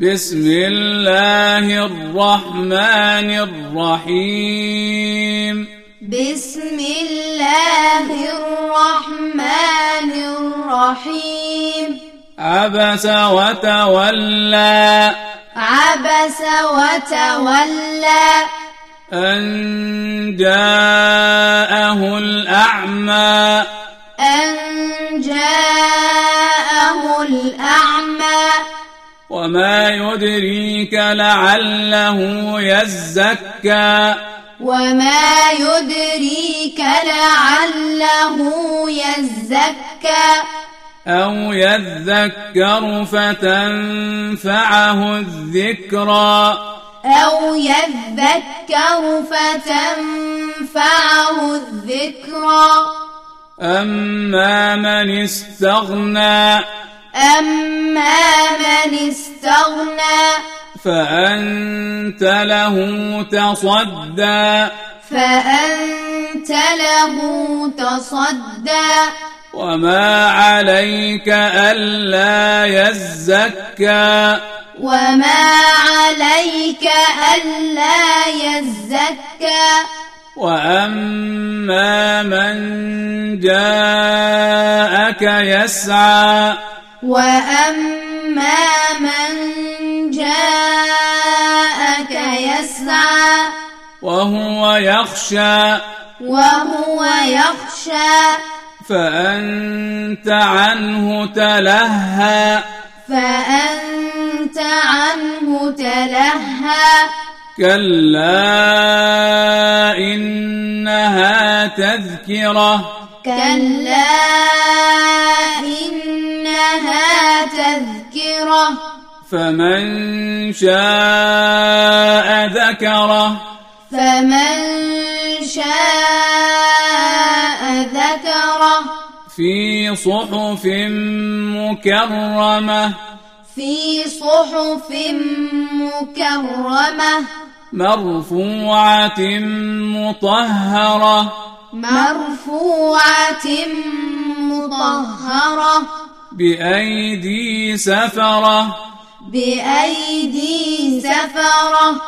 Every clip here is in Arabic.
بسم الله الرحمن الرحيم بسم الله الرحمن الرحيم عبس وتولى عبس وتولى أن جاءه الأعمى أن جاءه الأعمى وما يدريك لعله يزكى وما يدريك لعله يزكى أو يذكر فتنفعه الذكرى أو يذكر فتنفعه الذكرى أما من استغنى أما من استغنى فأنت له تصدى فأنت له تصدى وما عليك ألا يزكى وما عليك ألا يزكى وأما من جاءك يسعى وأما من جاءك يسعى وهو يخشى وهو يخشى فأنت عنه تلهى فأنت عنه تلهى كلا إنها تذكرة كلا إنها تذكرة فمن شاء ذكره فمن شاء ذكره في صحف مكرمة في صحف مكرمة مرفوعة مطهرة مرفوعة مطهرة بأيدي سفرة بأيدي سفرة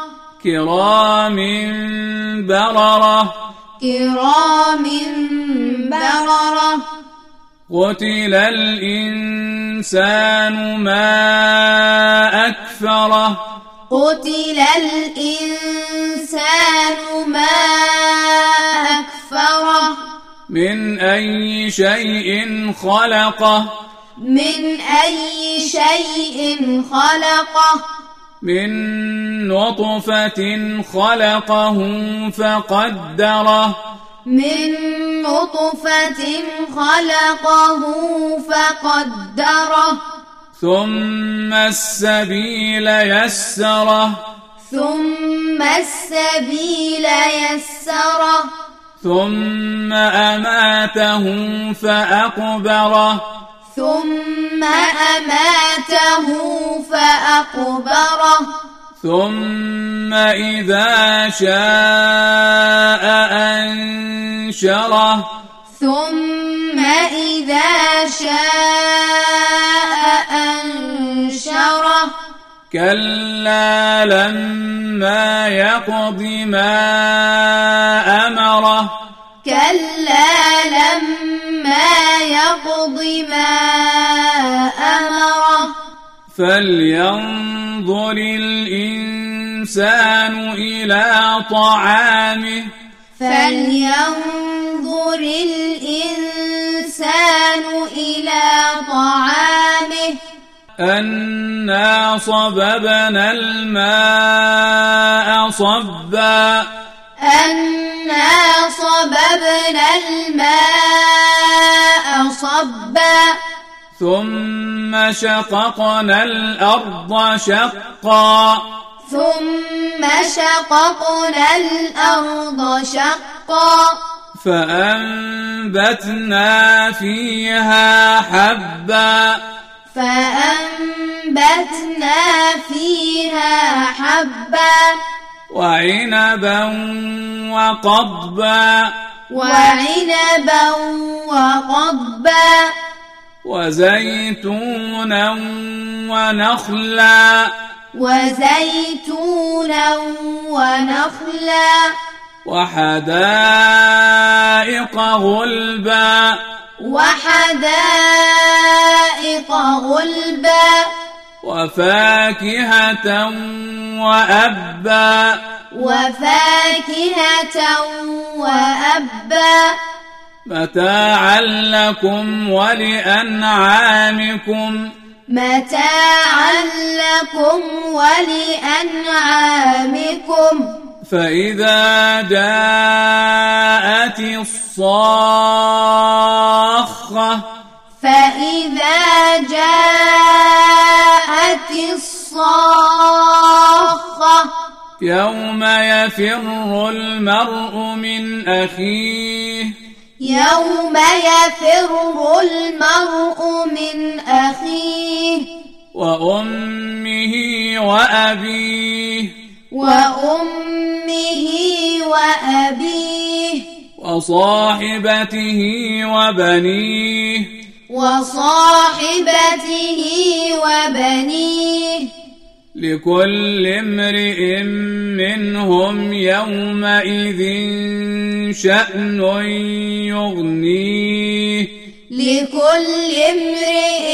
كرام بررة كرام بررة قتل الإنسان ما أكفره قتل الإنسان ما أكفره من أي شيء خلقه من أي شيء خلقه من نطفة خلقه فقدره من نطفة خلقه فقدره ثم السبيل يسره ثم السبيل يسره ثم أماته فأقبره ثم أماته فأقبره ثم إذا شاء أنشره ثم إذا شاء أنشره كلا لما يقض ما أمره كلا لما يقض ما أمره فلينظر الإنسان إلى طعامه فلينظر الإنسان إلى طعامه أنا صببنا الماء صبا أنا صببنا الماء صبا ثم شققنا الأرض شقا ثم شققنا الأرض شقا فأنبتنا فيها حبا فأنبتنا فيها حبا وعنبا وقضبا وعنبا وقضبا وزيتونا ونخلا وزيتونا ونخلا وحدائق غلبا وحدائق غلبا وفاكهة وأبا وفاكهة وأبا متاعا لكم ولأنعامكم متاعا لكم ولأنعامكم فإذا جاءت الصاخة فإذا جاءت الصاخة يوم يفر المرء من أخيه يوم يفر المرء من أخيه وأمه وأبيه وأمه وأبيه وصاحبته وبنيه وصاحبته وبنيه لكل امرئ منهم يومئذ شأن يغنيه لكل امرئ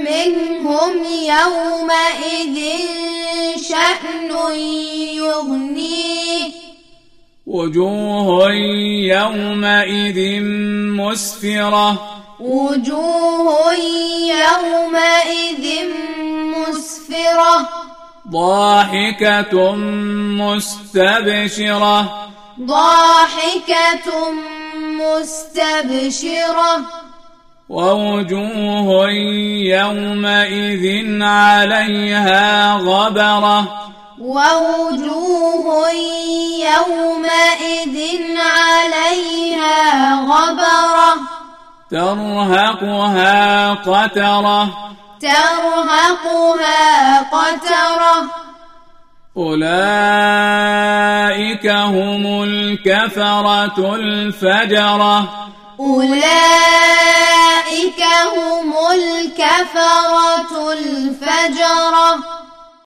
منهم يومئذ شأن يغنيه وجوه يومئذ مسفرة وجوه يومئذ مسفرة ضاحكة مستبشرة ضاحكة مستبشرة ووجوه يومئذ عليها غبرة ووجوه يومئذ عليها غبرة ترهقها قترة ترهقها قترة أولئك هم الكفرة الفجرة أولئك هم الكفرة الفجرة